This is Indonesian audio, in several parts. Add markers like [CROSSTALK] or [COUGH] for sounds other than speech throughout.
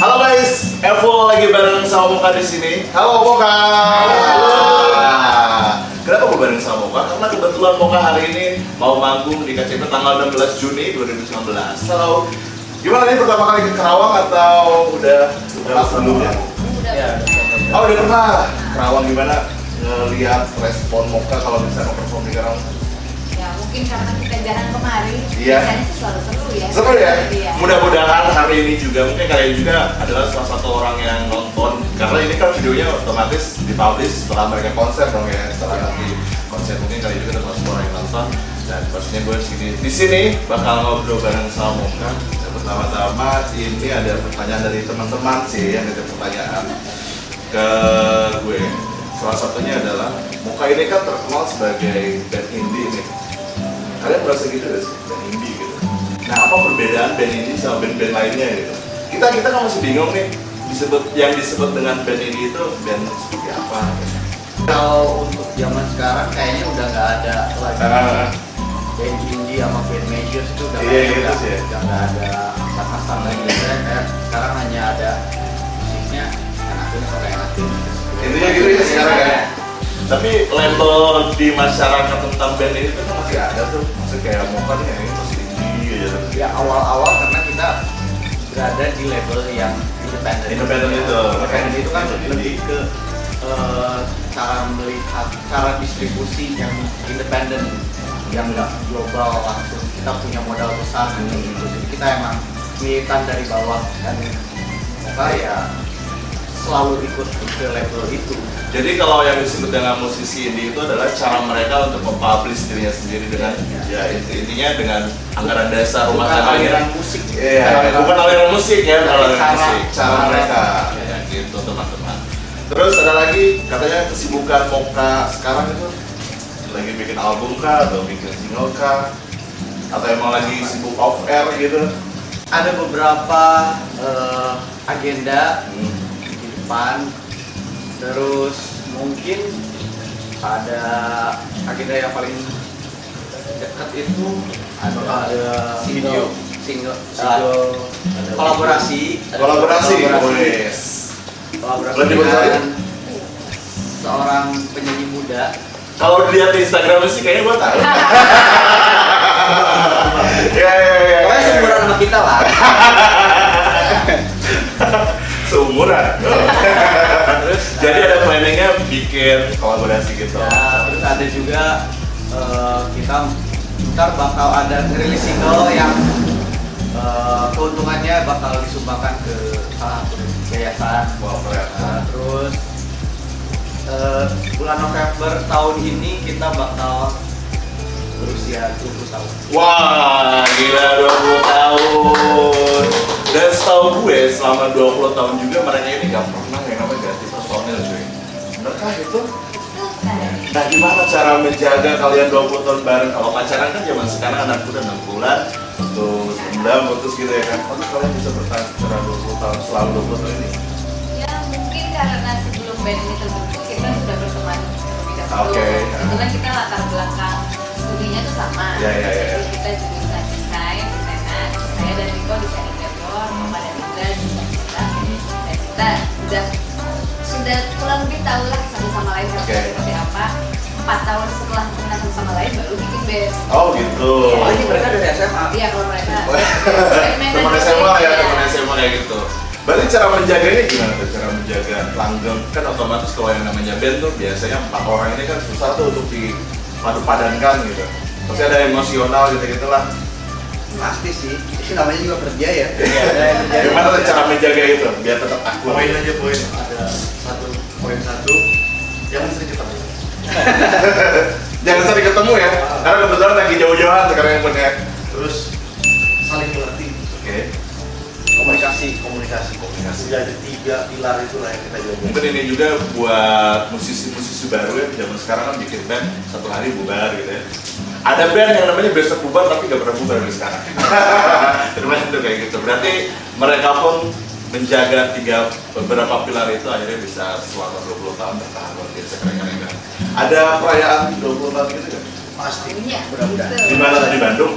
Halo guys, Evo lagi bareng sama Moka di sini. Halo Moka. Kenapa gue bareng sama Moka? Karena kebetulan Moka hari ini mau manggung di KCP tanggal 16 Juni 2019. Halo. Gimana nih pertama kali ke Karawang atau udah udah sebelumnya? Oh udah pernah. Karawang gimana? Ngeliat respon Moka kalau bisa nge-perform di Karawang? Ya mungkin karena kita jarang kemari, Iya. biasanya sih selalu seru ya. Seru ya? Iya. Mudah-mudahan hari ini juga, mungkin kalian juga adalah salah satu orang yang nonton Karena ini kan videonya otomatis dipublish setelah mereka konser dong ya Setelah nanti konser mungkin kalian juga ada salah orang yang nonton Dan pastinya gue sini di sini bakal ngobrol bareng sama Moka Dan pertama-tama ini ada pertanyaan dari teman-teman sih yang ada pertanyaan ke gue Salah satunya adalah Moka ini kan terkenal sebagai band indie nih kalian merasa gitu gak sih band indie gitu nah apa perbedaan band indie sama band-band lainnya gitu kita kita kan masih bingung nih disebut yang disebut dengan band indie itu band seperti apa gitu. Kalau untuk zaman sekarang kayaknya udah nggak ada lagi Ah. band indie sama band majors itu udah Iya, gitu nggak ada, sih ya. udah nggak ada kata-kata lagi. Saya kayak sekarang hanya ada musiknya enakin atau nggak enakin. intinya gitu ya sekarang ya tapi label di masyarakat tentang band ini tuh kan masih ada tuh maksudnya kayak Mokan yang ini masih indie gitu Ya awal-awal karena kita berada di label yang independen. independen itu Independen itu kan Indie. lebih ke eh, cara melihat cara distribusi yang independen yang nggak global langsung kita punya modal besar dan gitu jadi kita emang militan dari bawah dan maka ya selalu ikut ke label itu jadi kalau yang disebut dengan musisi indie itu adalah cara mereka untuk mempublish dirinya sendiri dengan ya intinya dengan anggaran dasar rumah gitu. bukan tangganya. aliran musik Iya, bukan aliran musik ya, bukan aliran Cara- musik. Cara cara- mereka. Ya, gitu teman-teman. Terus ada lagi katanya kesibukan Moka sekarang itu lagi bikin album kah atau bikin single kah atau emang lagi sibuk off air gitu? ada beberapa eh, agenda Hmm. di depan terus mungkin ada agenda yang paling dekat itu ada, ada Video. single, single kolaborasi ada Kolaborasi. kolaborasi, Wes. kolaborasi Boleh dibocorin? dengan seorang penyanyi muda Kalau dilihat di Instagram sih kayaknya gua [LAUGHS] tahu. Ya ya ya. pokoknya seumuran sama kita lah [LAUGHS] Seumuran. Jadi ada planningnya bikin kolaborasi gitu. Ya, terus ada juga eh, kita ntar bakal ada rilis single yang eh, keuntungannya bakal disumbangkan ke salah satu yayasan. Wah keren. Nah, terus eh, bulan November tahun ini kita bakal berusia 20 tahun. Wah, gila 20 tahun. Dan setahu gue selama 20 tahun juga mereka ini gak pernah yang namanya ganti personil cuy. Benarkah itu? Nah gimana cara menjaga kalian 20 tahun bareng? Kalau pacaran kan zaman sekarang anak udah 6 bulan, putus, dendam, putus gitu ya kan. Tapi kalian bisa bertahan secara 20 tahun, selama 20 tahun ini? Ya mungkin karena sebelum band ini terbentuk kita sudah berteman terlebih dahulu. Oke. ya. Itu kan kita latar belakang studinya tuh sama. Iya, iya, iya. Jadi kita jurusan desain, desainat. Saya dan Riko desain interior, Mama dan Indra desain produk. Dan kita sudah sudah kurang lebih tahu lah satu sama lain satu Oke. seperti apa. Empat tahun setelah kenal satu sama lain baru bikin band. Oh gitu. Oh, ini mereka dari SMA. Iya kalau mereka. teman SMA ya, teman SMA kayak gitu. Berarti cara menjaganya gimana tuh? Cara menjaga langgeng kan otomatis kalau yang namanya band tuh biasanya empat orang ini kan susah tuh untuk dipadu padankan gitu. Pasti ada emosional gitu gitulah. Pasti sih, itu namanya juga kerja ya. Iya, Gimana tuh cara menjaga itu biar tetap Oh akur? iya. poin aja poin Ada satu poin satu jangan sering ketemu Jangan sering ketemu ya, karena kebetulan lagi jauh-jauhan sekarang yang punya. terus saling mengerti Oke. komunikasi komunikasi komunikasi jadi tiga pilar itulah yang kita jaga Mungkin ini juga buat musisi-musisi baru ya zaman sekarang kan bikin band satu hari bubar gitu ya. Ada band yang namanya besok [LAUGHS] bubar tapi gak pernah bubar dari sekarang. Terus itu kayak gitu. Berarti mereka pun menjaga tiga beberapa pilar itu akhirnya bisa selama 20 tahun bertahan luar biasa keren-keren. Ada perayaan 20 tahun gitu kan? pasti Iya, mudah-mudahan. gitu. Di mana tuh? di Bandung?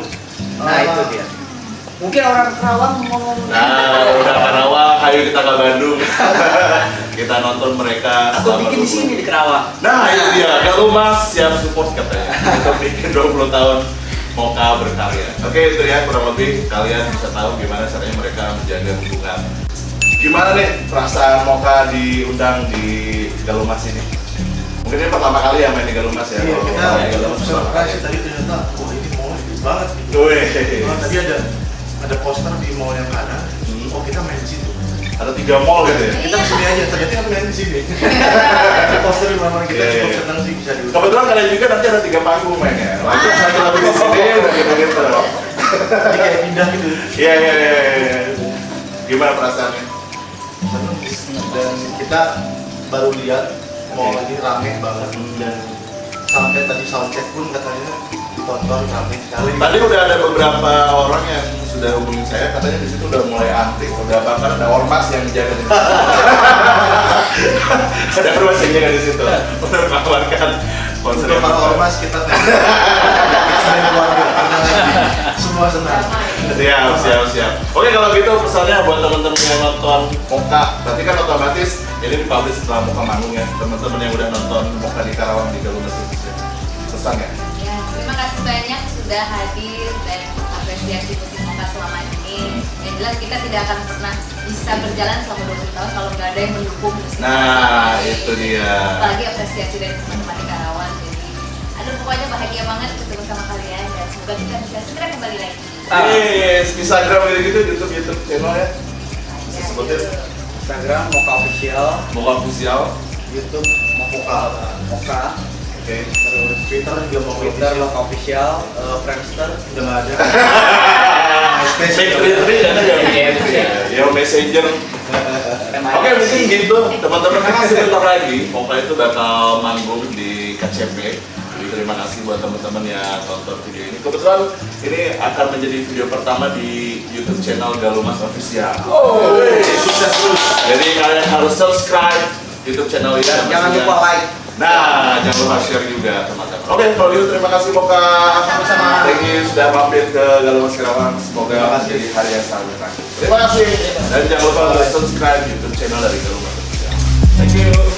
Ah. Nah itu dia. Mungkin orang Kerawang ngomong Nah, udah Karawang, ayo kita ke Bandung. [LAUGHS] kita nonton mereka. aku selama bikin 20. sini di Kerawang. Nah, itu dia. Kalau Mas siap support katanya untuk bikin 20 tahun Moka berkarya. Oke, itu ya kurang lebih kalian bisa tahu gimana caranya mereka menjaga hubungan. Gimana nih perasaan Moka diundang di Galumas ini? Mungkin ini pertama kali ya main di Galumas ya. Iya kalau kita main di Galumas pertama kali. surprise tadi ternyata wah ini mall gede banget gitu. Weh, Wah, tadi ada ada poster di mall yang kanan. Hmm. Oh kita main di situ. ada tiga mall gitu ya. Kita kesini aja. Ternyata kita main di sini. Ada poster di mana kita Iya, cukup iya. senang sih bisa diundang. Kebetulan kalian juga nanti ada tiga panggung main ya. Langsung satu lagu di sini udah gitu-gitu. Jadi kayak pindah gitu. Iya, iya, iya. iya. Gimana perasaannya? Seneng dan kita baru lihat mall Oke. Hmm. ini rame banget dan sampai tadi soundcheck pun katanya ditonton rame sekali. Tadi udah ada beberapa orang yang sudah hubungin saya, katanya di situ udah mulai aktif, udah bahkan ada ormas yang menjaga di situ. [LAUGHS] ada ormas yang jaga di situ, untuk mengamankan konser. Untuk para ormas kita [LAUGHS] dari keluarga tenang aja. semua senang. Siap, siap, siap. Oke kalau gitu pesannya buat teman-teman yang nonton Moka, berarti kan otomatis ini dipublish setelah Moka manggung ya. Teman-teman yang udah nonton Moka di Karawang di Galumas itu pesan ya. Ya, terima kasih banyak sudah hadir dan apresiasi musik Moka selama ini. Yang jelas kita tidak akan pernah bisa berjalan selama 20 tahun kalau nggak ada yang mendukung musik. Nah Moka. itu dia. Apalagi apresiasi dari teman-teman di Karawang. Jadi, aduh pokoknya bahagia banget ketemu sama kalian dan semoga kita bisa segera kembali lagi. Yes, Instagram gitu-gitu, gitu YouTube, YouTube channel ya. Ya, Sebutin. gitu. Instagram Moka official, Moka Fusial. YouTube Mau vokal. Moka, Oke. terus Twitter juga mau Twitter Moka official, eh, Friendster udah nggak ada. Ya messenger. Oke mungkin gitu teman-teman karena sebentar lagi Pokoknya itu bakal manggung di KCP. Jadi terima kasih buat teman-teman yang nonton video ini. Kebetulan ini akan menjadi video pertama di YouTube channel Galumas Official. Oh, sukses terus. Jadi kalian harus subscribe YouTube channel ini. Jangan lupa like. Nah, jangan lupa share juga teman-teman. Oke, kalau gitu terima kasih Moka. Sama-sama. Thank you sudah mampir ke Galuh Mas Karawang. Semoga Terima kasih. menjadi hari yang sangat berkah. Terima kasih. Dan jangan lupa untuk subscribe YouTube channel dari Galuh Mas Karawang. Thank you.